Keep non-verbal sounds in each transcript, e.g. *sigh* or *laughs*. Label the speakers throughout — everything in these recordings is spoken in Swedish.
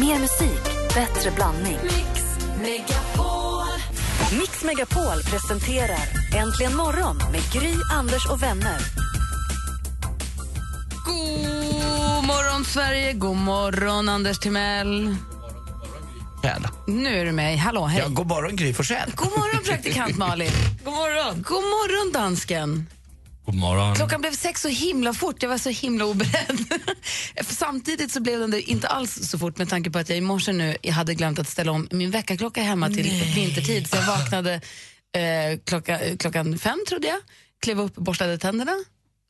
Speaker 1: Mer musik, bättre blandning.
Speaker 2: Mix Megapol.
Speaker 1: Mix Megapol presenterar Äntligen morgon med Gry, Anders och vänner.
Speaker 3: God morgon, Sverige. God morgon, Anders Timell. Nu är du med. Hallå, hej.
Speaker 4: Ja, god morgon Gry Forssell.
Speaker 3: God morgon, praktikant Malin. *laughs* God morgon. God morgon, dansken.
Speaker 4: God morgon.
Speaker 3: Klockan blev sex så himla fort. Jag var så himla oberedd. För *laughs* Samtidigt så blev den det inte alls så fort med tanke på att jag i morse nu jag hade glömt att ställa om min väckarklocka hemma till vintertid. Så jag vaknade eh, klocka, klockan fem, trodde jag. Klev upp, borstade tänderna.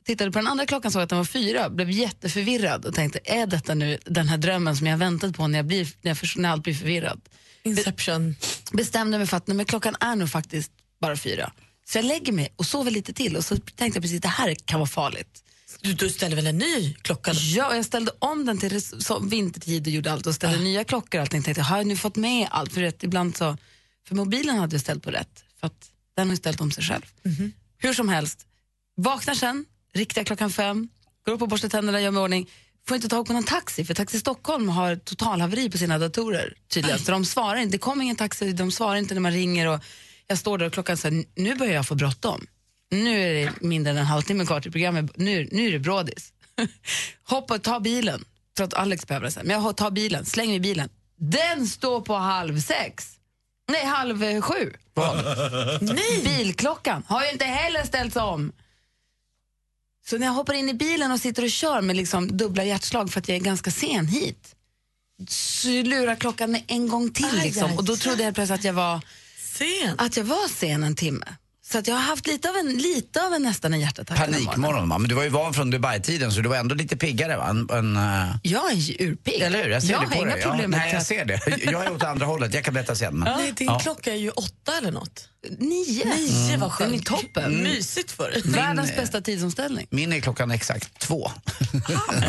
Speaker 3: Tittade på den andra klockan såg att den var fyra. Blev jätteförvirrad och tänkte, är detta nu den här drömmen som jag har väntat på när, jag blir, när, jag, förs- när allt blir förvirrat?
Speaker 5: Inception.
Speaker 3: bestämde mig för att nej, men klockan är nog faktiskt bara fyra. Så jag lägger mig och sover lite till och så tänkte jag precis det här kan vara farligt.
Speaker 5: Du, du ställer väl en ny klocka? då?
Speaker 3: Ja, och jag ställde om den till res- så, vintertid och gjorde allt och
Speaker 5: Ah.
Speaker 3: ställde nya klockor och allting. Tänkte, har jag nu fått med allt? För rätt, ibland så, för mobilen hade jag ställt på rätt, för att den har ju ställt om sig själv.
Speaker 5: Mhm.
Speaker 3: Hur som helst, vaknar sen, riktiga klockan fem, går upp och borstar tänderna, gör mig i ordning. Får inte tag på någon taxi, för Taxi Stockholm har totalhaveri på sina datorer tydligen. Så de svarar inte, det kommer ingen taxi, de svarar inte när man ringer och jag står där och klockan säger, nu börjar jag få bråttom. Nu är det mindre än en halvtimme kvar till programmet, nu, nu är det brådis. *laughs* Hoppa, ta bilen, för att Alex behöver det sen. Men jag tar bilen, slänger i bilen. Den står på halv sex. Nej, halv eh, sju. Nej. Bilklockan har ju inte heller ställts om. Så när jag hoppar in i bilen och sitter och kör med liksom dubbla hjärtslag för att jag är ganska sen hit, så lurar klockan mig en gång till.
Speaker 5: Aj,
Speaker 3: Liksom.
Speaker 5: aj,
Speaker 3: Och då trodde jag plötsligt att jag var,
Speaker 5: Sen.
Speaker 3: att jag var sen en timme. Så att jag har haft lite av en, lite av en nästan en hjärtattack. den här morgonen.
Speaker 4: Panikmorgon va? Men du var ju van från Dubai-tiden så du var ändå lite piggare va? En, en, eh,
Speaker 3: Jag är ju urpigg.
Speaker 4: eller hur? Jag ser det
Speaker 3: har
Speaker 4: på
Speaker 3: inga
Speaker 4: dig.
Speaker 3: problem
Speaker 4: ja,
Speaker 3: med
Speaker 4: nej, jag ser det. Jag är åt andra hållet, jag kan berätta sen. Men...
Speaker 5: Nej, din
Speaker 4: Ja.
Speaker 5: klocka är ju åtta eller något.
Speaker 3: Nio.
Speaker 5: Nio, vad skönt.
Speaker 3: Mm. Den är toppen. Mm.
Speaker 4: Mm.
Speaker 5: Mysigt för dig.
Speaker 3: Världens bästa tidsomställning.
Speaker 4: Min är klockan exakt två.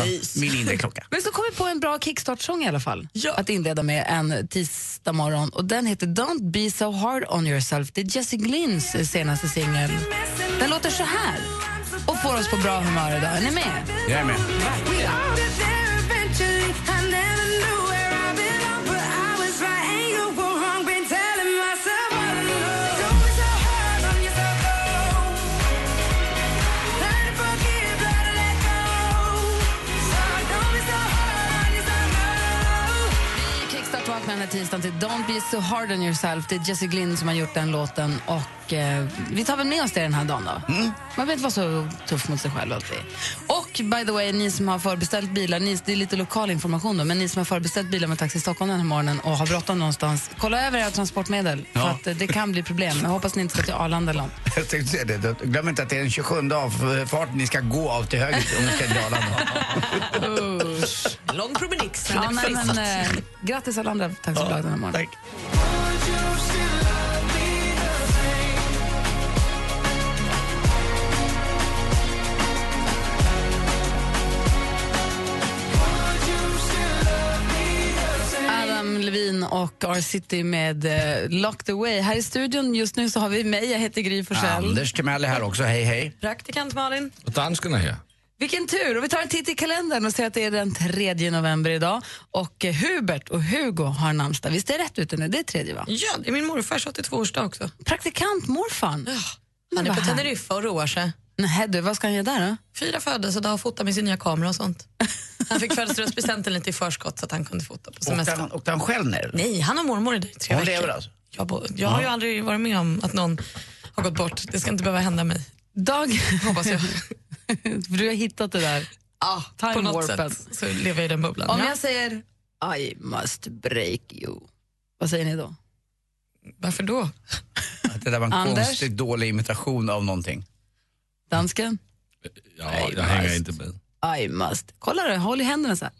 Speaker 5: Nice.
Speaker 4: Min innerklocka.
Speaker 3: Men så kom vi på en bra kickstart-sång i alla fall.
Speaker 5: Ja.
Speaker 3: Att inleda med en tisdag morgon. Och den heter Don't be so hard on yourself. Det är Jessie Glynns senaste singel. Den låter så här och får oss på bra humör idag. Är ni med?
Speaker 4: Jag är med.
Speaker 3: Vi kickstart-vaknar den här tisdagen till Don't be so hard on yourself. Det är Jessie Glynn som har gjort den låten. Och eh, Vi tar väl med oss det den här dagen. Då.
Speaker 4: Mm.
Speaker 3: Man behöver inte vara så tuff mot sig själv alltid. Och by the way, ni som har förbeställt bilar, ni, det är lite lokal information då, men ni som har förbeställt bilar med Taxi Stockholm den här morgonen och har bråttom någonstans, kolla över era transportmedel. För
Speaker 4: Ja.
Speaker 3: att eh, det kan bli problem. Jag hoppas ni inte ska till Arlanda
Speaker 4: *laughs*
Speaker 3: eller något.
Speaker 4: Jag tänkte säga det. Glöm inte att det är den 27 avfarten ni ska gå av till höger om ni ska till Arlanda.
Speaker 5: Lång promenix.
Speaker 3: Mm. Ja, nej, men, eh, grattis alla andra taxibolag den här morgonen.
Speaker 4: Tack.
Speaker 3: Adam Levin och R-City med eh, Locked Away. Här i studion just nu så har vi mig, jag heter Gry Forssell.
Speaker 4: Anders Timell är här också. Hej, hej.
Speaker 5: Praktikant Malin.
Speaker 6: Och dansken är här.
Speaker 3: Vilken tur! Och vi tar en titt i kalendern och ser att det är den 3 november idag. Och eh, Hubert och Hugo har namnsdag. Visst är det rätt ute nu? Det är tredje va?
Speaker 5: Ja, det är min morfars 82-årsdag också.
Speaker 3: Praktikant morfan.
Speaker 5: Han är
Speaker 3: vad
Speaker 5: på
Speaker 3: härligt.
Speaker 5: Teneriffa och roar sig.
Speaker 3: Nej du, vad ska han göra där då?
Speaker 5: Fyra födelsedag och fotar med sin nya kamera och sånt. Han fick födelsedagspresenten lite i förskott så att han kunde fota på
Speaker 4: Åkte
Speaker 5: semestern.
Speaker 4: han, åkte han själv ner?
Speaker 5: Nej, han och mormor är där i tre
Speaker 4: Hon
Speaker 5: veckor.
Speaker 4: lever alltså?
Speaker 5: Jag, bo, jag har ju aldrig varit med om att någon har gått bort. Det ska inte behöva hända mig,
Speaker 3: Dag... *laughs*
Speaker 5: hoppas jag.
Speaker 3: För du har hittat det där.
Speaker 5: ja,
Speaker 3: Ah, Time
Speaker 5: på något
Speaker 3: warpen.
Speaker 5: sätt så lever jag i den bubblan.
Speaker 3: Om
Speaker 5: Ja.
Speaker 3: jag säger I must break you, vad säger ni då?
Speaker 5: Varför då?
Speaker 4: Att det där var en
Speaker 3: Anders?
Speaker 4: konstigt dålig imitation av någonting.
Speaker 3: Dansken?
Speaker 6: Ja,
Speaker 3: Nej,
Speaker 6: jag hänger
Speaker 3: fast.
Speaker 6: inte med.
Speaker 3: I must. Kolla då, håll i händerna så här.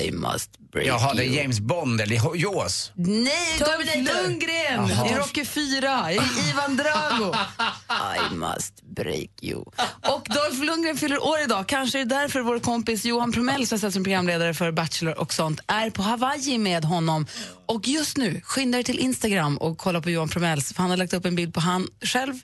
Speaker 3: I must break
Speaker 4: Jaha, det är
Speaker 3: you.
Speaker 4: James Bond eller Jaws.
Speaker 3: Nej, Dolph Lundgren i Rocky 4, i Ivan Drago. *laughs* I must break you. Och Dolph Lundgren fyller år idag. Kanske är det därför vår kompis Johan Promell som sätts som programledare för Bachelor och sånt är på Hawaii med honom. Och just nu, skynda er till Instagram och kolla på Johan Promells för han har lagt upp en bild på han själv,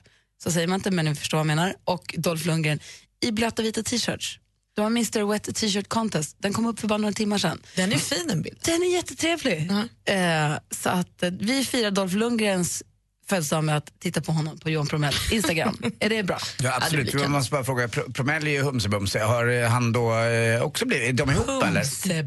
Speaker 3: så säger man inte men ni förstår vad jag menar, och Dolph Lundgren i blöta vita t-shirts. Du har Mr Wet T-shirt contest. Den kom upp för bara några timmar sedan.
Speaker 5: Den är fin en bild.
Speaker 3: Den är jättetrevlig. Eh, så att eh, vi firar Dolph Lundgrens födelsedag med att titta på honom på Johan Promell
Speaker 4: *laughs*
Speaker 3: Instagram. är det bra?
Speaker 4: Ja, absolut. Man måste bara fråga, Pr- Promell är ju humsebumse. Har eh, han då eh, också blivit, är de ihop eller?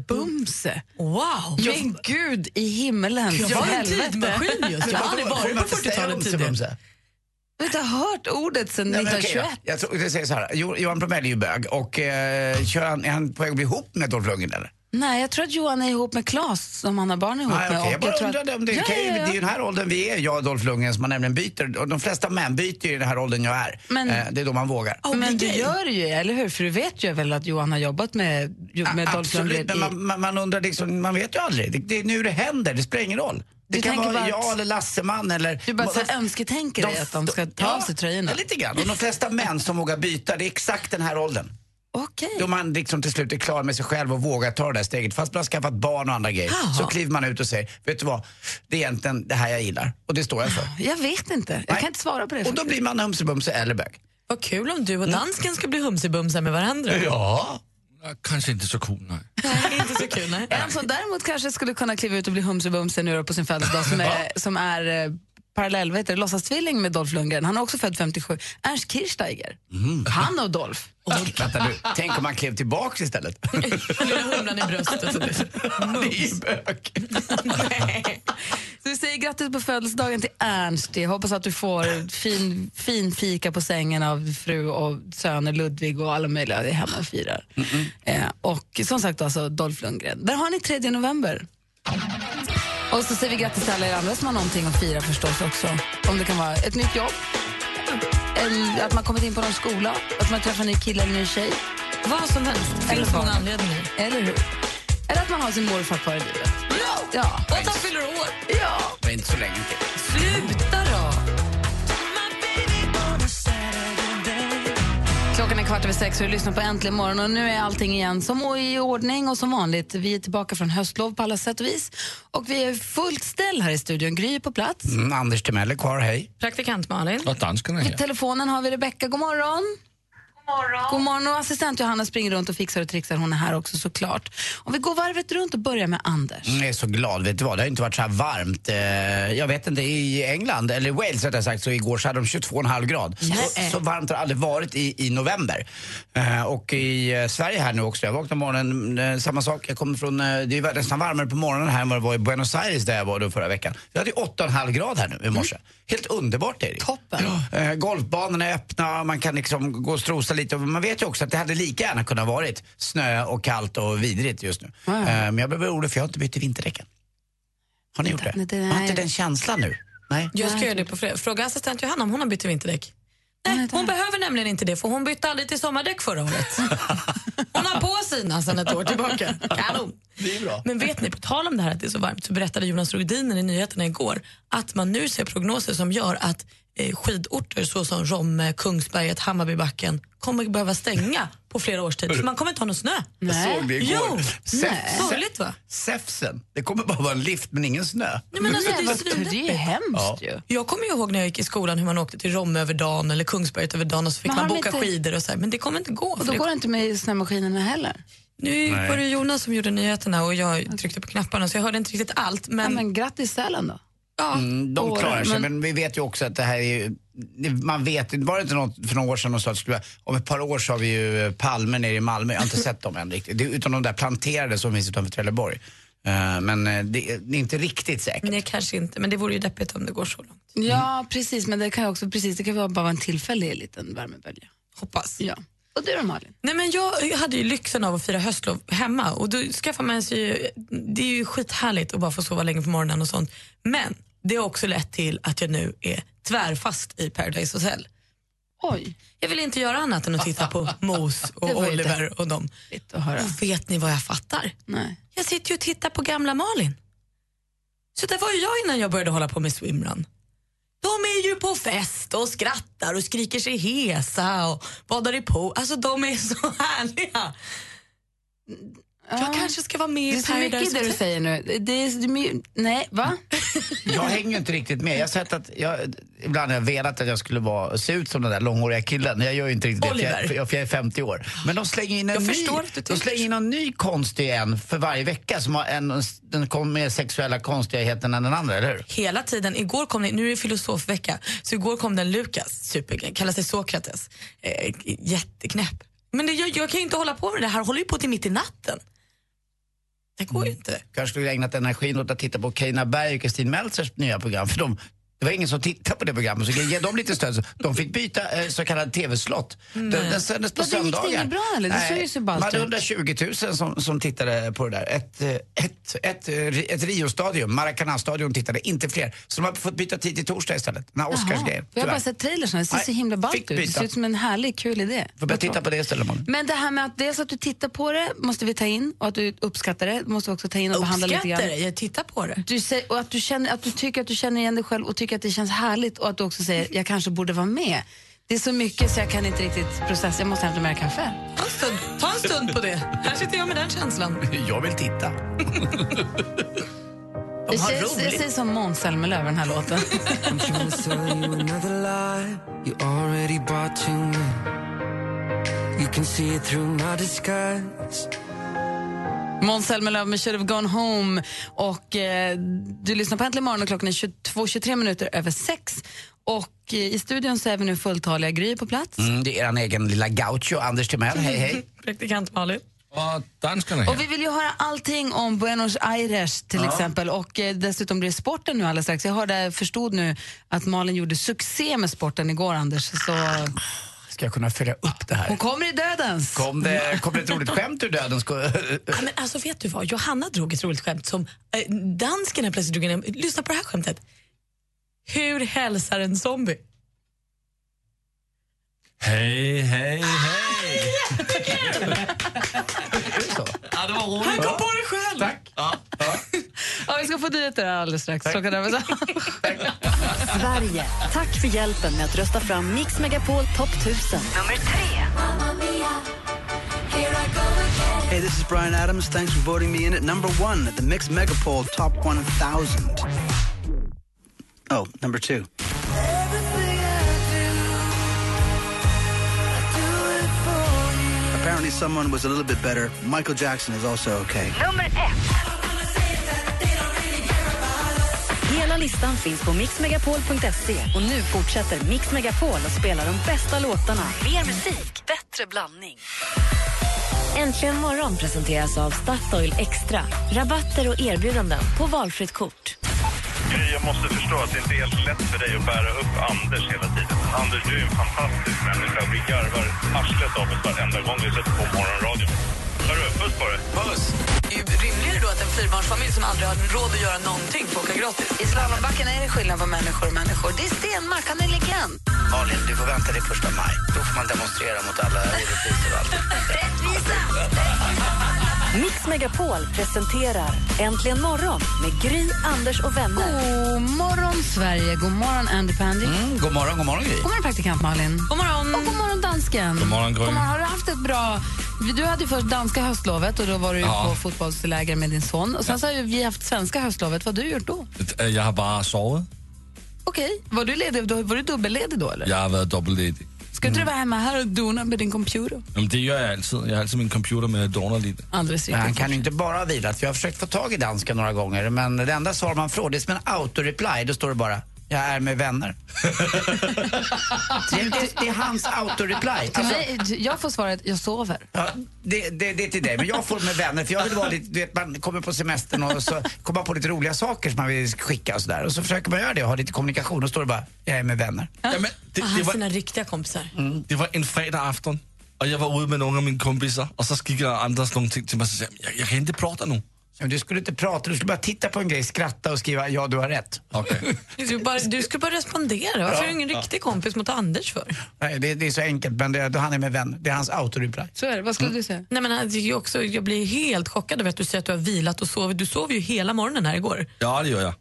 Speaker 3: Bumse.
Speaker 5: Wow!
Speaker 3: Men gud i himmelen.
Speaker 5: Jag
Speaker 3: för
Speaker 5: var en
Speaker 3: helvete.
Speaker 5: tidsmaskin just. Jag har aldrig varit på 40-talet tidigare.
Speaker 3: Jag har inte hört ordet sedan
Speaker 4: Nej, men okej,
Speaker 3: 1921.
Speaker 4: jag, jag tror, jag säger så här, Jo- Johan Promell är ju bög och eh, kör han, är han på väg att bli ihop med Dolph Lundgren eller?
Speaker 3: Nej, jag tror att Johan är ihop med Claes som han har barn ihop
Speaker 4: Nej,
Speaker 3: med.
Speaker 4: okej. Jag
Speaker 3: och Mm.
Speaker 4: bara
Speaker 3: tror att-
Speaker 4: undrade om det är
Speaker 3: Ja,
Speaker 4: okej.
Speaker 3: ja, ja.
Speaker 4: Det är ju den här åldern vi är, jag och Dolph Lundgren, som man nämligen byter. Och de flesta män byter ju i den här åldern jag är.
Speaker 3: Men- Oh.
Speaker 4: eh, det är då man vågar.
Speaker 3: Men du gör det ju, eller hur? För du vet ju väl att Johan har jobbat med, med Dolph
Speaker 4: Absolut,
Speaker 3: Lundgren
Speaker 4: men
Speaker 3: i-
Speaker 4: man, man, man undrar liksom, man vet ju aldrig. Det, det är nu det händer, det spelar ingen roll. Det
Speaker 3: Du
Speaker 4: kan
Speaker 3: tänker
Speaker 4: vara
Speaker 3: bara
Speaker 4: jag
Speaker 3: att-
Speaker 4: eller Lasseman eller...
Speaker 3: Du bara så här önsketänker dig att de ska ta
Speaker 4: ja,
Speaker 3: av sig tröjorna.
Speaker 4: ja, lite grann. Och de flesta män som vågar byta, det är exakt den här åldern.
Speaker 3: Okej.
Speaker 4: Då man liksom till slut är klar med sig själv och vågar ta det där steget. Fast man har skaffat barn och andra grejer.
Speaker 3: Jaha.
Speaker 4: Så kliver man ut och säger, vet du vad? Det är egentligen det här jag gillar. Och det står jag för.
Speaker 3: Jag vet inte. Jag kan inte svara på det.
Speaker 4: Och då blir man humsebumse eller bög.
Speaker 5: Vad kul om du och dansken ska bli humsibumsar med varandra.
Speaker 4: Ja.
Speaker 6: Nej, Kanske inte så kul, nej.
Speaker 5: Nej, inte så kul. Nej.
Speaker 3: En som däremot kanske skulle kunna kliva ut och bli humsebumse nu då på sin födelsedag
Speaker 4: *laughs*
Speaker 3: som är, som är eh, parallell, vad heter det, låtsastvilling med Dolph Lundgren. Han är också född 57. Ernst Kirchsteiger.
Speaker 4: Mhm.
Speaker 3: Han och Dolph.
Speaker 4: Vänta nu, tänk om man klev tillbaka istället. *laughs*
Speaker 5: Lilla humlan i bröstet.
Speaker 4: det är ju bög.
Speaker 3: *laughs* Så vi säger grattis på födelsedagen till Ernst. Jag hoppas att du får fin, fin fika på sängen av fru och söner Ludvig och alla möjliga. Det är hemma och firar. Eh, och som sagt alltså Dolph Lundgren. Där har ni 3 november. Och så säger vi grattis till alla er andra som har någonting att fira förstås också. Om det kan vara ett nytt jobb, en, att man kommit in på någon skola, att man träffar en ny kille eller en ny tjej.
Speaker 5: Vad som helst. Det finns många anledningar.
Speaker 3: Eller hur? Eller att man har sin morfar kvar i livet. Ja.
Speaker 5: Och att han fyller år.
Speaker 3: ja.
Speaker 4: Det är inte så länge till.
Speaker 5: Sluta då!
Speaker 3: Klockan är kvart över sex och du lyssnar på Äntligen morgon. Och nu är allting igen som i ordning och som vanligt. Vi är tillbaka från höstlov på alla sätt och vis. Och vi är fullt ställ här i studion. Gry är på plats.
Speaker 4: Mm, Anders Timell är kvar, hej.
Speaker 5: Praktikant Malin.
Speaker 6: Och danskarna är
Speaker 3: På
Speaker 6: *laughs* här.
Speaker 3: telefonen har vi Rebecka. God morgon. God morgon. God morgon. Och assistent Johanna springer runt och fixar och trixar. Hon är här också såklart. Om vi går varvet runt och börjar med Anders.
Speaker 4: Mm, Jag är så glad, vet du vad? Det har inte varit så här varmt. eh, Jag vet inte, i England, eller Wales rättare sagt, så igår så hade de 22,5 grad. Så,
Speaker 3: Nej.
Speaker 4: så varmt har det aldrig varit i, i november. Eh, Och i eh, Sverige här nu också. Jag vaknade på morgonen, eh, samma sak. Jag kommer från, eh, det är nästan varmare på morgonen här än vad det var i Buenos Aires där jag var då förra veckan. Jag hade ju 8,5 grad här
Speaker 3: Mm.
Speaker 4: nu i morse. Helt underbart är det.
Speaker 3: Toppen.
Speaker 4: Eh, golfbanorna är öppna, man kan liksom gå och strosa lite. Och Man vet ju också att det hade lika gärna kunnat varit snö och kallt och vidrigt just nu.
Speaker 3: Ja, ja.
Speaker 4: Eh, Men jag blev orolig för jag har inte bytt till vinterdäcken. Har ni gjort det?
Speaker 3: Nej, det-
Speaker 4: Har inte
Speaker 3: nej.
Speaker 4: den känslan nu? Nej.
Speaker 5: Jag ska göra det på fredag. Fråga assistent Johanna om hon har bytt till vinterdäck.
Speaker 3: Nej,
Speaker 5: Nej,
Speaker 3: det
Speaker 5: hon behöver nämligen inte det för hon bytte aldrig till sommardäck förra *laughs* året. Hon har på sina sedan ett år tillbaka. Kanon!
Speaker 4: Det är bra.
Speaker 5: Men vet ni, på tal om det här att det är så varmt så berättade Jonas Rhodiner i nyheterna igår att man nu ser prognoser som gör att eh, skidorter såsom Romme, Kungsberget, Hammarbybacken kommer behöva stänga på flera års tid för man kommer inte ha någon snö.
Speaker 4: Jag såg det igår.
Speaker 5: Jo,
Speaker 4: Säf-
Speaker 5: sorgligt va?
Speaker 4: Säfsen. Det kommer bara vara en lift men ingen snö.
Speaker 5: Nej, men alltså,
Speaker 4: *laughs*
Speaker 5: det är
Speaker 3: Nej, vad- det är ju
Speaker 5: svindeppigt.
Speaker 3: hemskt ju.
Speaker 5: Jag kommer ju ihåg när jag gick i skolan hur man åkte till Romme över dagen eller Kungsberget över dagen och så fick
Speaker 3: Men
Speaker 5: man
Speaker 3: har de
Speaker 5: boka
Speaker 3: inte-
Speaker 5: skidor och så här. Men det kommer inte gå.
Speaker 3: Och
Speaker 5: för
Speaker 3: då
Speaker 5: det-
Speaker 3: går det inte med snömaskinerna heller.
Speaker 5: Nu var det Jonas som gjorde nyheterna och jag tryckte på knapparna så jag hörde inte riktigt allt.
Speaker 3: Ja,
Speaker 5: Men,
Speaker 3: men grattis Sälen då.
Speaker 5: ja,
Speaker 4: Mm, De
Speaker 3: Åren,
Speaker 4: klarar sig, men...
Speaker 3: men-
Speaker 4: vi vet ju också att det här är ju, det- man vet var det inte något för några år sedan de sa att det skulle vara- om ett par år så har vi ju eh, Palme nere i Malmö, jag har inte sett dem än riktigt, det, är utan de där planterade som finns utanför Trelleborg. Eh, men eh, det, är- det är inte riktigt säkert.
Speaker 5: nej kanske inte. Men det vore ju deppigt om det går så långt.
Speaker 4: Mm.
Speaker 3: Ja, precis. Men det kan ju också precis, det kan ju bara vara en tillfällig liten värmebölja.
Speaker 5: Hoppas.
Speaker 3: Ja. Och du då Malin?
Speaker 5: Nej, men jag hade ju lyxen av att fira höstlov hemma och då skaffar man sig ju, det är ju skithärligt att bara få sova länge på morgonen och sånt. Men det har också lett till att jag nu är tvärfast i Paradise Hotel.
Speaker 3: Oj,
Speaker 5: Jag vill inte göra annat än att
Speaker 3: *laughs*
Speaker 5: titta på Mos
Speaker 3: Det var
Speaker 5: och
Speaker 3: ju det.
Speaker 5: Oliver och dem.
Speaker 3: lite att höra.
Speaker 5: Och vet ni vad jag fattar?
Speaker 3: Nej.
Speaker 5: Jag sitter ju och tittar på gamla Malin. Så där var ju jag innan jag började hålla på med swimrun. De är ju på fest och skrattar och skriker sig hesa och badar i pool. Alltså de är så *laughs* härliga. Jag kanske ska vara med
Speaker 3: Det är
Speaker 5: i
Speaker 3: så mycket i
Speaker 5: Paradise
Speaker 3: det du
Speaker 5: Hotel.
Speaker 4: Mm.
Speaker 3: säger nu. Det är, det är, my- nej, va?
Speaker 4: Jag hänger ju inte riktigt med. Jag har sett att jag, ibland har jag velat att jag skulle vara, se ut som den där långhåriga killen. Jag gör ju inte riktigt det, för
Speaker 5: Oliver.
Speaker 4: jag, för jag är 50 år. Men de slänger in en,
Speaker 5: Jag
Speaker 4: ny,
Speaker 5: förstår att
Speaker 4: de
Speaker 5: du tycker
Speaker 4: slänger in en ny konstig en för varje vecka. Som har en, den kommer med sexuella konstigheten än den andra, eller hur?
Speaker 5: hela tiden. Igår kom det, nu är det filosofvecka, så igår kom den Lukas, super, kallar sig Sokrates. Eh, jätteknäpp. Men det, jag, jag kan ju inte hålla på med det här, håller ju på till mitt i natten. Det går ju
Speaker 3: Mm.
Speaker 5: inte.
Speaker 4: Kanske skulle jag ägnat energin åt att titta på Carina Berg och Kristin Meltzers nya program. För de, det var ingen som tittade på det programmet, så jag ge dem lite stöd. Så De fick byta eh, så kallad TV-slott. Den, den sändes på
Speaker 3: Vad, Mm. det gick det
Speaker 4: söndagar.
Speaker 3: inget bra, eller? Det såg ju så ballt
Speaker 4: man hade
Speaker 3: ut.
Speaker 4: 120 000 som, som tittade på det där. Ett, eh, ett, ett, eh, ri- ett Rio-stadion, Maracanã-stadion tittade, inte fler. Så de har fått byta tid till torsdag istället. Den här Oscarsgrejen.
Speaker 3: Vi har bara
Speaker 4: tyvärr.
Speaker 3: sett trailersna, det ser
Speaker 4: Nej,
Speaker 3: så himla ballt
Speaker 4: fick
Speaker 3: ut. Det
Speaker 4: byta.
Speaker 3: ser ut som en härlig, kul idé.
Speaker 4: Får börja titta på det istället imorgon.
Speaker 3: Men det här med att dels att du tittar på det måste vi ta in och att du uppskattar det måste vi också ta in och behandla lite
Speaker 5: Uppskattar
Speaker 3: grann.
Speaker 5: det, jag tittar på det.
Speaker 3: Du säger, och att du, känner, att du tycker att du känner igen dig själv och tycker att det känns härligt och att du också säger jag kanske borde vara med. Det är så mycket så jag kan inte riktigt processa, jag måste hämta mer kaffe.
Speaker 5: Ta en stund, ta en stund på det. Här sitter jag med den känslan.
Speaker 4: *laughs* Jag vill *laughs* titta.
Speaker 3: Jag
Speaker 4: har
Speaker 3: säger,
Speaker 4: roligt.
Speaker 3: jag säger som Måns Zelmerlöw i den här
Speaker 4: *laughs*
Speaker 3: låten.
Speaker 7: I'm trying to sell you another lie. You already bought too many. You can see it through my disguise.
Speaker 3: Måns Zelmerlöw med Should have gone home. Och, eh, du lyssnar på Äntligen morgon och klockan är 22.23 minuter över sex. Och eh, i studion så är vi nu fulltaliga Gry på plats.
Speaker 4: Mm, det är er egen lilla gaucho, Anders Timell. Hej, hej.
Speaker 5: Praktikant Malin.
Speaker 6: Och danskarna här.
Speaker 3: Och vi vill ju höra allting om Buenos Aires till exempel och eh, dessutom blir det sporten nu alldeles strax. Jag hörde, förstod nu att Malin gjorde succé med sporten igår Anders, så
Speaker 4: Ska jag kunna följa upp det
Speaker 3: hon
Speaker 4: här?
Speaker 3: kommer i dödens.
Speaker 4: Kom det, kom det ett roligt skämt ur döden? Sko-
Speaker 5: Ja, men alltså vet du vad, Johanna drog ett roligt skämt som eh, dansken här plötsligt drog in. Lyssna på det här skämtet. Hur hälsar en zombie?
Speaker 6: Hej, hej, hej!
Speaker 4: Så.
Speaker 6: Ja, det var roligt.
Speaker 5: Kom på det själv!
Speaker 3: Ja, vi ska få nyheter alldeles strax. Klockan är över
Speaker 1: Sverige, tack för hjälpen med att rösta fram Mix Megapol Top 1000.
Speaker 2: Mamma mia, here I go again.
Speaker 8: Hey, this is Brian Adams. Thanks for voting me in at number one at the Mix Megapol Top 1000. Oh, number two.
Speaker 2: Everything I do, I do it for you.
Speaker 8: Apparently, someone was a little bit better. Michael Jackson is also okay.
Speaker 1: Hela listan finns på mixmegapol.se och nu fortsätter Mix Megapol att spela de bästa låtarna. Mer musik, bättre blandning. Äntligen morgon presenteras av Statoil Extra. Rabatter och erbjudanden på valfritt kort.
Speaker 9: Gry, jag måste förstå att det inte är helt lätt för dig att bära upp Anders hela tiden. Anders, du är en fantastisk människa. Vi garvar arslet av oss varenda gång vi sätter på morgonradion. Hörru, puss på dig.
Speaker 5: Rimligare då att en fyrbarnsfamilj som aldrig har råd att göra någonting får åka gratis.
Speaker 3: I slalombacken är det skillnad på människor och människor. Det är Stenmark, han är legend.
Speaker 4: Malin, du får vänta till första maj. Då får man demonstrera mot alla orättvisor och allt.
Speaker 1: Mix Megapol presenterar Äntligen morgon med Gry, Anders och vänner.
Speaker 3: God morgon Sverige, god morgon Andy Pandy.
Speaker 4: Mm, god morgon, god morgon Gry.
Speaker 3: God morgon praktikant Malin.
Speaker 5: God morgon!
Speaker 3: Och god morgon dansken.
Speaker 6: Mm. God morgon, Gry.
Speaker 3: God morgon. Har du haft ett bra... Du hade ju först danska höstlovet och då var du ju
Speaker 6: Ja.
Speaker 3: på fotbollsläger med din son. Och sen så har ju vi haft svenska höstlovet. Vad har du gjort då?
Speaker 6: Eh, Jag har bara sovit.
Speaker 3: Okej, var du ledig? då- Var du dubbelledig då eller?
Speaker 6: Jag har varit dubbelledig.
Speaker 3: Ska inte du vara hemma här och dona med din computer?
Speaker 6: Jamen, det gör jag alltid. Jag har alltid min computer med att donar lite.
Speaker 3: Alldeles
Speaker 4: Men han
Speaker 3: riktigt.
Speaker 4: kan ju inte bara ha vilat. Vi har försökt få tag i dansken några gånger, men det enda svar man får det är som en autoreply. Då står det bara “Jag är med *laughs* vänner”. det, är- det, det är hans autoreply.
Speaker 3: Till
Speaker 4: Alltså,
Speaker 3: mig, jag får svaret jag sover.
Speaker 4: Ja, det, det, det är till dig, men jag får med vänner för jag vill vara lite, du vet, man kommer på semestern och så kommer man på lite roliga saker som man vill skicka och sådär. Och så försöker man göra det och ha lite kommunikation och då står det bara “Jag är med vänner”.
Speaker 6: Jamen,
Speaker 5: Ah,
Speaker 6: det, det,
Speaker 5: han har
Speaker 6: var,
Speaker 5: sina riktiga kompisar.
Speaker 6: det var en fredag afton, och jag var ute med några av mina kompisar, och så skickade Anders någonting till mig och sa, jag, jag kan inte prata nu.
Speaker 4: Men du skulle inte prata, du skulle bara titta på en grej, skratta och skriva “Ja, du har rätt”.
Speaker 6: Okej.
Speaker 5: Du, bara, du ska bara respondera. Varför är du ingen riktig kompis mot Anders för?
Speaker 4: Nej, det, det är så enkelt, men det, då han är med vän. Det är hans autoreply.
Speaker 3: Så är det. Vad skulle du säga?
Speaker 5: Nej, men han- det är ju också, jag blir helt chockad över att du säger att du har vilat och sovit. Du sov ju hela morgonen här igår.
Speaker 6: *laughs* Ja, det
Speaker 3: *laughs*
Speaker 6: gör jag.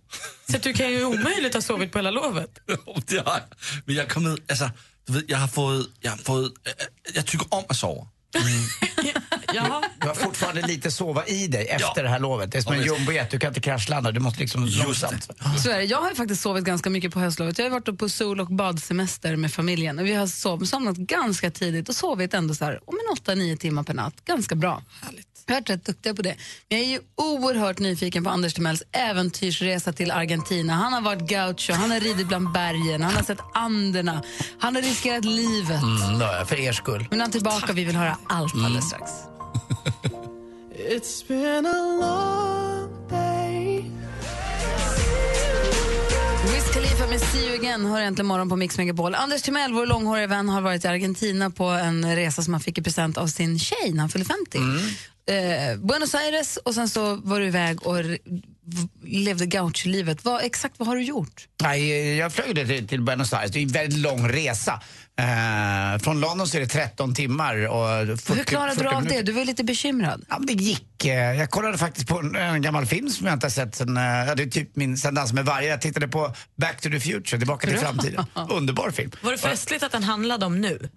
Speaker 5: Så att du kan ju omöjligt ha sovit på hela lovet.
Speaker 3: Oh,
Speaker 6: Jo, det har jeg. Men jeg er kommet, altså, du ved, jeg har fået, jeg har fået, øh, øh, jeg tykker om at sove.
Speaker 3: Jaha.
Speaker 4: Du har fortfarande lite sova i dig efter det här lovet. Det är som
Speaker 6: Ja,
Speaker 4: en
Speaker 6: visst.
Speaker 4: jumbojet, du kan inte kraschlanda. Du måste liksom långsamt.
Speaker 3: Så är det. Jag har ju faktiskt sovit ganska mycket på höstlovet. Jag har ju varit på sol och badsemester med familjen och vi har sov, somnat ganska tidigt och sovit ändå så här om en 8-9 timmar per natt. Ganska bra. Härligt. Jag har varit rätt duktiga på det. Men jag är ju oerhört nyfiken på Anders Timells äventyrsresa till Argentina. Han har varit gaucho, han har ridit bland bergen, han har sett Anderna, han har riskerat livet.
Speaker 4: Mm, det har jag, för er skull.
Speaker 3: Men nu är han tillbaka och vi vill höra allt alldeles
Speaker 4: Mm.
Speaker 3: strax.
Speaker 10: It's been a long day
Speaker 3: Wiz Khalifa med See You Again hör äntligen morgon på Mix Megapol. Anders Timell, vår långhåriga vän, har varit i Argentina på en resa som han fick i present av sin tjej när han fyllde 50.
Speaker 4: Mm.
Speaker 3: Eh, Buenos Aires och sen så var du iväg och re- v- levde gaucholivet. Vad, exakt vad har du gjort?
Speaker 4: Nej, jag flög det till, till Buenos Aires. Det är en väldigt lång resa. Eh, från London så är det 13 timmar och 40,
Speaker 3: Hur klarade
Speaker 4: 40
Speaker 3: du av
Speaker 4: minuter.
Speaker 3: det? Du var ju lite bekymrad.
Speaker 4: Ja, men det gick. Eh, Jag kollade faktiskt på en, en gammal film som jag inte har sett sen, eh, ja, det är typ min, sen Dans med varje. Jag tittade på Back to the Future, Tillbaka
Speaker 3: *laughs*
Speaker 4: till
Speaker 5: Bra.
Speaker 4: framtiden. Underbar film.
Speaker 5: Var det festligt att den handlade om nu?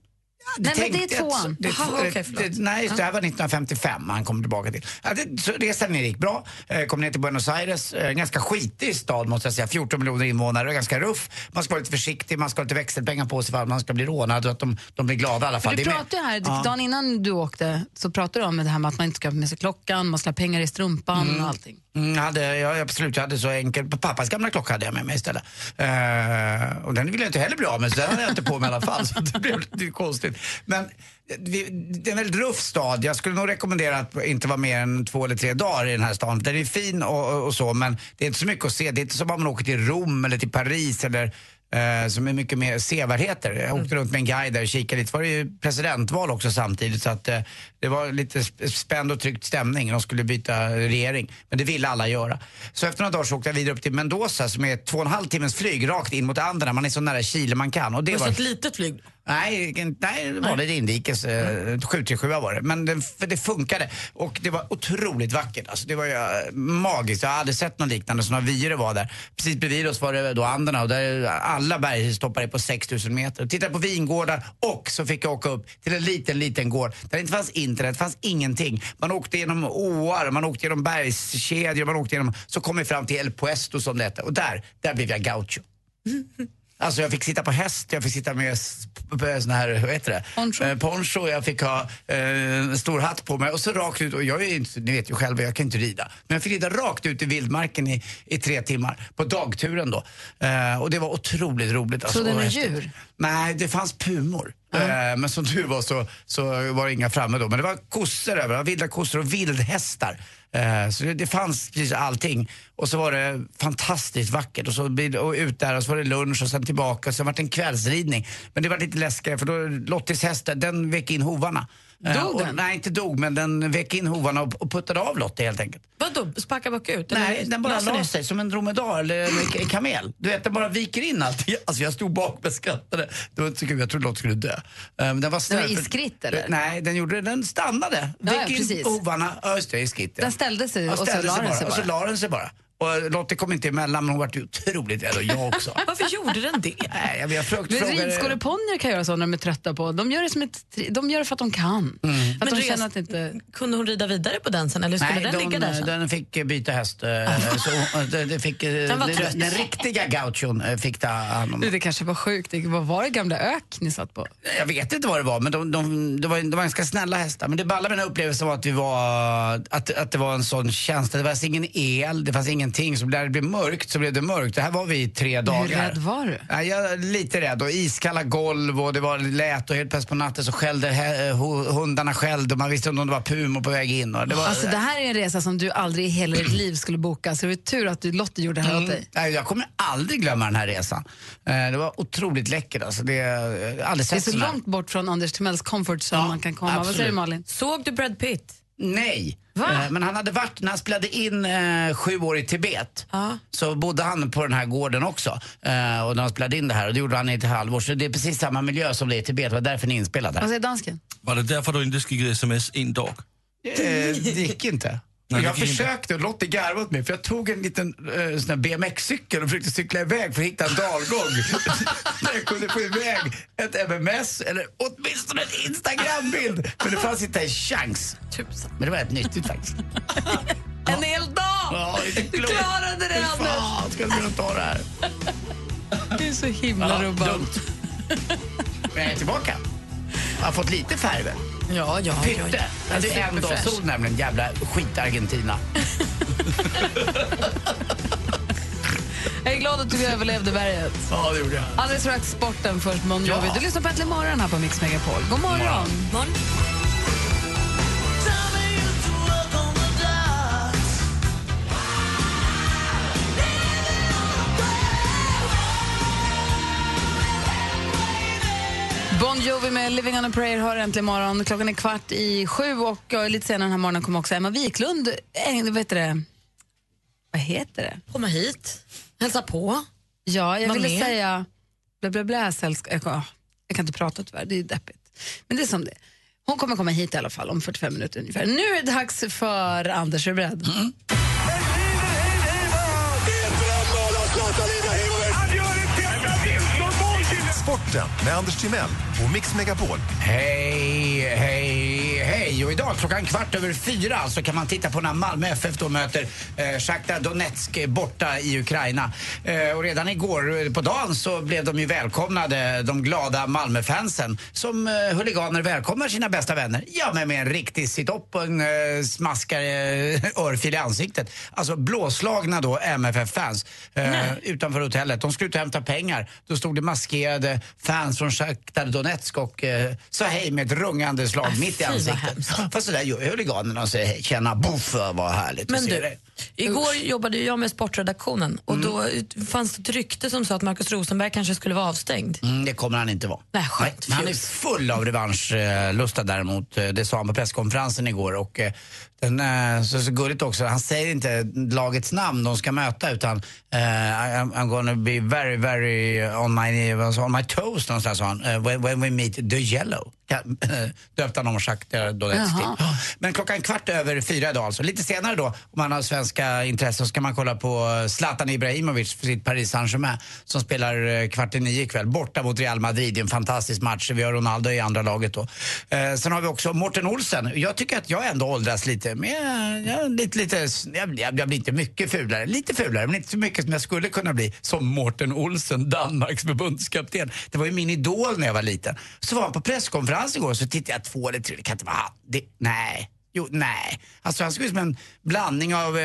Speaker 3: Nej, men det är
Speaker 4: tänkte jag att-
Speaker 3: tvåan.
Speaker 4: det- eh,
Speaker 5: Aha, okej, förlåt.
Speaker 4: det- Nej, just det här var 1955 han kom tillbaka till. Ja, det, så resan ner gick bra. Eh, Kom ner till Buenos Aires, eh, en ganska skitig stad måste jag säga. 14 miljoner invånare, ganska ruff. Man ska vara lite försiktig, man ska ha lite växelpengar på sig ifall man ska bli rånad och att de, de blir glada i alla
Speaker 3: För
Speaker 4: fall.
Speaker 3: du
Speaker 4: Det är med-
Speaker 3: pratade ju här,
Speaker 4: Ja.
Speaker 3: dagen innan du åkte så pratade du om det här med att man inte ska ha med sig klockan, man ska ha pengar i strumpan och allting.
Speaker 4: Mm, jag hade, ja, absolut, jag hade så enkel. Pappas gamla klocka hade jag med mig istället. Eh, och den ville jag inte heller bli av med, så den hade jag inte på mig i alla fall. *laughs* Så det blev lite konstigt. Men eh, vi, det är en väldigt ruff stad. Jag skulle nog rekommendera att inte vara mer än två eller tre dagar i den här stan. Den är fin och, och, och så, men det är inte så mycket att se. Det är inte som om man åker till Rom eller till Paris eller eh, som är mycket mer sevärdheter. Jag åkte runt med en guide där och kikade lite. Det var ju presidentval också samtidigt så att eh, det var lite sp- spänd och tryckt stämning. De skulle byta regering, men det ville alla göra. Så efter några dagar så åkte jag vidare upp till Mendoza som är två och en halv timmes flyg rakt in mot Anderna. Man är så nära Chile man kan. Och det
Speaker 5: Det
Speaker 4: var...
Speaker 5: var så ett litet flyg.
Speaker 4: Nej, nej, det var det inrikes. eh, 737 var det. Men det, för det funkade. Och det var otroligt vackert. Alltså, det var ju eh, magiskt. Jag hade sett något liknande. Så några vyer var där. Precis bredvid oss var det då Anderna och där alla bergstoppar är på 6000 meter. Och tittade på vingårdar och så fick jag åka upp till en liten, liten gård där det inte fanns internet, det fanns ingenting. Man åkte genom åar, man åkte genom bergskedjor, man åkte genom... Så kom vi fram till El Puesto som det hette. Och där, där blev jag gaucho. Alltså jag fick sitta på häst, jag fick sitta med s- p- p- sån här, vad heter det?
Speaker 3: Poncho.
Speaker 4: Eh, poncho jag fick ha eh, en stor hatt på mig och så rakt ut, och jag är ju inte, ni vet ju själva, jag kan inte rida. Men jag fick rida rakt ut i vildmarken i, i tre timmar, på dagturen då. Eh, och det var otroligt roligt. Alltså,
Speaker 3: Såg du
Speaker 4: och
Speaker 3: några
Speaker 4: häftigt.
Speaker 3: djur?
Speaker 4: Nej, det fanns pumor. Eh, men som tur var så, så var det inga framme då. Men det var kossor överallt, vilda kossor och vildhästar. Eh, så det, det fanns precis allting. Och så var det fantastiskt vackert. Och så blir- och ut där och så var det lunch och sen tillbaka. Och sen var det en kvällsridning. Men det var lite läskigare för då Lottis häst, den vek in hovarna. Eh,
Speaker 3: Dog
Speaker 4: och,
Speaker 3: den?
Speaker 4: Nej, inte dog, men den vek in hovarna och, och puttade av Lottie helt enkelt.
Speaker 5: Vadå, sparka bakut?
Speaker 4: Nej,
Speaker 5: Eller
Speaker 4: den bara
Speaker 5: la sig
Speaker 4: la
Speaker 5: ner?
Speaker 4: sig som en dromedar eller en k- kamel. Du vet, den bara viker in allt. *laughs* Alltså jag stod bak och skrattade. Det var inte så kul, jag trodde Lottie skulle dö. Eh, men den var snäll.
Speaker 3: Den var iskritt, eller?
Speaker 4: Nej, den, gjorde, den stannade.
Speaker 3: Ja, ja,
Speaker 4: Vek in
Speaker 3: precis.
Speaker 4: hovarna. Ja, just det, iskritt. Ja.
Speaker 3: Den ställde sig
Speaker 4: Ja,
Speaker 3: och så
Speaker 4: ställde
Speaker 3: la den sig
Speaker 4: Och så
Speaker 3: bara.
Speaker 4: la den sig bara. Och Lottie kom inte emellan, men hon vart ju otroligt rädd och jag
Speaker 3: *laughs*
Speaker 4: också.
Speaker 5: Varför gjorde den det?
Speaker 4: Nej, jag, jag
Speaker 3: Du
Speaker 4: försökte
Speaker 3: vet,
Speaker 4: fråga...
Speaker 3: Ridskoleponnyer kan göra så när de är trötta på. De gör det, som ett, tri- de gör det för att de
Speaker 4: Mm.
Speaker 3: kan. För att
Speaker 5: Men
Speaker 3: de
Speaker 5: res-
Speaker 3: känner att det inte...
Speaker 5: Kunde hon rida vidare på den sen eller skulle
Speaker 4: Nej,
Speaker 5: den
Speaker 4: de,
Speaker 5: ligga där sen?
Speaker 4: den fick eh, byta häst. eh, så, hon- eh, det fick, eh, den,
Speaker 5: var
Speaker 4: den,
Speaker 5: trött.
Speaker 4: den riktiga gauchon eh, fick ta hand om
Speaker 3: Du, Det kanske var sjukt. Det var, var det gamla ök ni satt på?
Speaker 4: Jag vet inte vad det var, men de, de, det var, de var ganska snälla hästar. Men det balla med den här upplevelsen var att, vi var, att, att det var en sån känsla. Det fanns ingen el, det fanns ingenting. Så när det blev mörkt så blev det mörkt. Det här var vi i tre dagar.
Speaker 3: rädd var du?
Speaker 4: Ja, jag är lite rädd. Och iskalla golv och det var lät och helt plötsligt på natten så skällde hä- ho- hundarna skällde och man visste inte om det var pumor på väg in. Och det var,
Speaker 3: Alltså, det här är en resa som du aldrig i hela ditt liv skulle boka. Så det är tur att du, Lottie gjorde det här
Speaker 4: Mm.
Speaker 3: åt dig.
Speaker 4: Nej, jag kommer aldrig glömma den här resan. Eh, Det var otroligt läckert. Alltså, det, jag har aldrig
Speaker 3: Det är
Speaker 4: sett
Speaker 3: så
Speaker 4: sån här.
Speaker 3: långt bort från Anders Timells comfort som
Speaker 4: Ja,
Speaker 3: man kan komma. Vad säger
Speaker 4: absolut.
Speaker 3: du Malin?
Speaker 5: Såg du Brad Pitt?
Speaker 4: Nej. Eh, Men han hade varit, när han spelade in eh, sju år i Tibet så bodde han på den här gården också. Eh, och när han spelade in det här, och det gjorde han i ett halvår. Så det är precis samma miljö som det är i Tibet, det var därför ni inspelade.
Speaker 3: Vad
Speaker 4: Alltså,
Speaker 3: säger dansken?
Speaker 6: Var det därför du inte skickade sms en dag?
Speaker 4: eh, det gick inte.
Speaker 6: Nej, det
Speaker 4: jag
Speaker 6: gick inte.
Speaker 4: försökte, och Lottie garvade åt mig, för jag tog en liten eh, sån här BMX-cykel och försökte cykla iväg för att hitta en dalgång. *laughs* Där jag kunde få iväg ett MMS eller åtminstone en Instagram-bild. Men det fanns inte en chans.
Speaker 5: Tusen.
Speaker 4: Men det var rätt nyttigt faktiskt.
Speaker 5: En hel dag!
Speaker 4: Ja, det är inte
Speaker 5: du
Speaker 4: klokt.
Speaker 5: klarade
Speaker 4: Fy
Speaker 5: det, Anders!
Speaker 4: fan, ska jag kunna ta det här?
Speaker 3: Det är så himla
Speaker 4: dumt. *laughs* Men jag är tillbaka. Jag har fått lite färg väl?
Speaker 5: Ja, ja. ja,
Speaker 4: Pytte!
Speaker 5: ja.
Speaker 4: Det är en dag
Speaker 5: Superfräsch.
Speaker 4: sol nämligen, jävla skit-Argentina.
Speaker 3: Jag är glad att du överlevde berget.
Speaker 4: *laughs* Ja, det gjorde jag.
Speaker 3: Alldeles strax sporten först, Bon Jovi.
Speaker 4: Ja.
Speaker 3: Du lyssnar på Äntligen morgon här på Mix Megapol. God morgon! Bon Jovi med Living on a prayer hör äntligen morgon. Klockan är kvart i sju och ja, lite senare den här morgonen kommer också Emma Wiklund, äh, vad heter det? Vad heter det?
Speaker 5: Komma hit, hälsa på.
Speaker 3: Ja, jag
Speaker 5: Vad
Speaker 3: ville
Speaker 5: mer?
Speaker 3: säga blä, blä, blä, sälsk- jag, kan- ah, jag kan inte prata tyvärr, det är ju deppigt. Men det är som det är. Hon kommer komma hit i alla fall om 45 minuter ungefär. Nu är det dags för Anders, är du beredd?
Speaker 11: Sporten med Anders Timell och Mix Megapol.
Speaker 4: Hej, hej, hej! Och idag klockan kvart över fyra så kan man titta på när Malmö FF då möter eh, Shakhtar Donetsk eh, borta i Ukraina. Eh, och redan igår eh, på dagen så blev de ju välkomnade, de glada Malmöfansen som eh, huliganer välkomnar sina bästa vänner. Ja, men med en riktig sit-up och en eh, *laughs* smaskare eh, örfil i ansiktet. Alltså blåslagna då MFF-fans eh, utanför hotellet. De skulle ut och hämta pengar. Då stod det maskerade fans från Shakhtar Donetsk och eh, sa hej med ett rungande slag mitt i
Speaker 5: Äh, fy vad
Speaker 4: ansiktet. Fast så där gör ju huliganerna och säger hej, tjena, boff, vad härligt att
Speaker 5: Men
Speaker 4: se
Speaker 5: du,
Speaker 4: dig.
Speaker 5: igår jobbade ju jag med sportredaktionen och
Speaker 4: Mm.
Speaker 5: då fanns det ett rykte som sa att Markus Rosenberg kanske skulle vara avstängd.
Speaker 4: Mm, det kommer han inte vara.
Speaker 5: Nej, skönt.
Speaker 4: Men han är full av revanschlusta däremot. Eh, Det sa han på presskonferensen igår. Och eh, den, eh, så, så gulligt också, han säger inte lagets namn de ska möta utan eh, I- I'm, I'm gonna be very, very on my, vad sa han, on my toes någonstans sa han. eh, when, when we meet the yellow. Ja, *laughs* Döpte han om Shakhtar Donetsk till. Men klockan kvart över fyra idag alltså. Lite senare då, om man har svenska intressen, så kan man kolla på eh, Zlatan Ibrahimovic för sitt Paris Saint-Germain som spelar eh, kvart i nio ikväll borta mot Real Madrid. Det är en fantastisk match. Vi har Ronaldo i andra laget då. Eh, sen har vi också Morten Olsen. Jag tycker att jag ändå åldras lite. Men jag, jag, lite, lite, jag, jag, jag blir inte mycket fulare. Lite fulare, men inte så mycket som jag skulle kunna bli. Som Morten Olsen, Danmarks förbundskapten. Det var ju min idol när jag var liten. Så var han på presskonferens igår så tittade jag två eller tre. Det kan inte vara han. Det, nej. Jo, nej. Alltså han såg ut som en blandning av eh,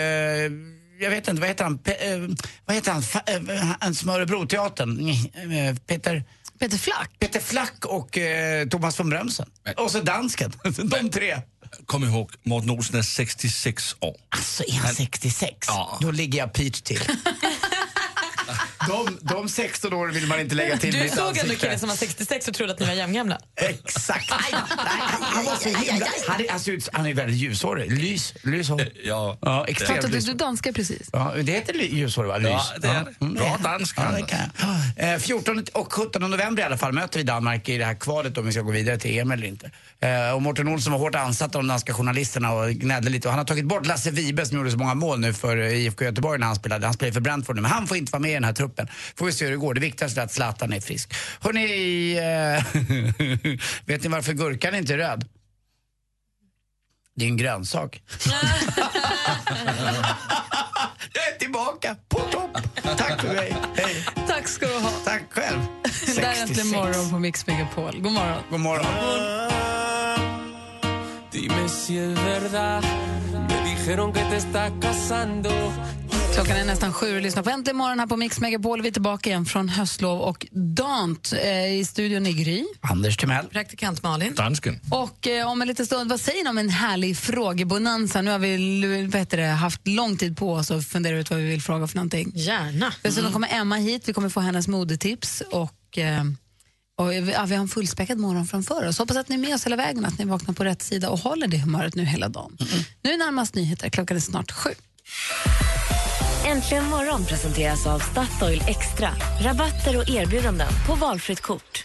Speaker 4: jag vet inte, vad heter han? Pe- eh, vad heter han? Fa- eh, han som Örebroteatern? Eh, Peter...
Speaker 3: Peter Flack.
Speaker 4: Peter Flack och eh, Thomas von Brömsen. Och så dansken. *laughs* De tre.
Speaker 6: Kom ihåg, Morten Olsen är 66 år.
Speaker 4: Alltså är han 66?
Speaker 6: Ja.
Speaker 4: Då ligger jag pyrt till. *laughs* De, de 16 åren vill man inte lägga till
Speaker 5: Du
Speaker 4: mitt
Speaker 5: såg ändå
Speaker 4: ansikte.
Speaker 5: killen som var 66 och trodde att ni var jämngamla.
Speaker 4: Exakt. Nej, han var så himla... Han är, alltså, han är väldigt ljushårig. Lys, lyshår.
Speaker 6: Ja.
Speaker 4: Ja,
Speaker 3: Pratade
Speaker 4: extremt
Speaker 3: du,
Speaker 4: lys.
Speaker 3: du danska precis?
Speaker 4: Ja, det heter ly- ljushår va? Lys. Mm.
Speaker 6: Ja, det är det. Bra dansk,
Speaker 4: Ja, det
Speaker 6: Anders.
Speaker 4: kan jag. Eh, 14 och 17 november i alla fall möter vi Danmark i det här kvalet om vi ska gå vidare till EM eller inte. Eh, och Morten Olsson var hårt ansatt av de danska journalisterna och gnällde lite. Och han har tagit bort Lasse Vibe som gjorde så många mål nu för eh, IFK Göteborg när han spelade. Han spelar för Brentford nu, men han får inte vara med i den här truppen. Får vi se hur det går. Det viktigaste är att Zlatan är frisk. Hörrni, eh, *laughs* vet ni varför gurkan inte är röd? Det är en grönsak. Jag är tillbaka på topp. Tack för mig. Hej.
Speaker 3: Tack ska du ha.
Speaker 4: Tack själv.
Speaker 3: Det där är äntligen
Speaker 4: 66.
Speaker 3: morgon på Mix Megapol. God morgon.
Speaker 4: God morgon.
Speaker 10: Dime si es verdad. Me dijeron que te estás casando.
Speaker 3: Klockan är nästan sju och lyssnar på Äntligen morgon här på Mix Megapol. Vi är tillbaka igen från höstlov och dant eh, i studion i Gry.
Speaker 4: Anders Timell.
Speaker 5: Praktikant Malin.
Speaker 6: Dansken.
Speaker 3: Och eh, om en liten stund, vad säger ni om en härlig frågebonanza? Nu har vi l- vad heter det, haft lång tid på oss att fundera ut vad vi vill fråga för någonting.
Speaker 5: Gärna.
Speaker 3: Dessutom kommer Emma hit, vi kommer få hennes modetips och, eh, och vi, ja, vi har en fullspäckad morgon framför oss. Hoppas att ni är med oss hela vägen, att ni vaknar på rätt sida och håller det humöret nu hela dagen. Nu är närmast nyheter, klockan är snart sju.
Speaker 1: Äntligen morgon presenteras av Statoil Extra. Rabatter och erbjudanden på valfritt kort.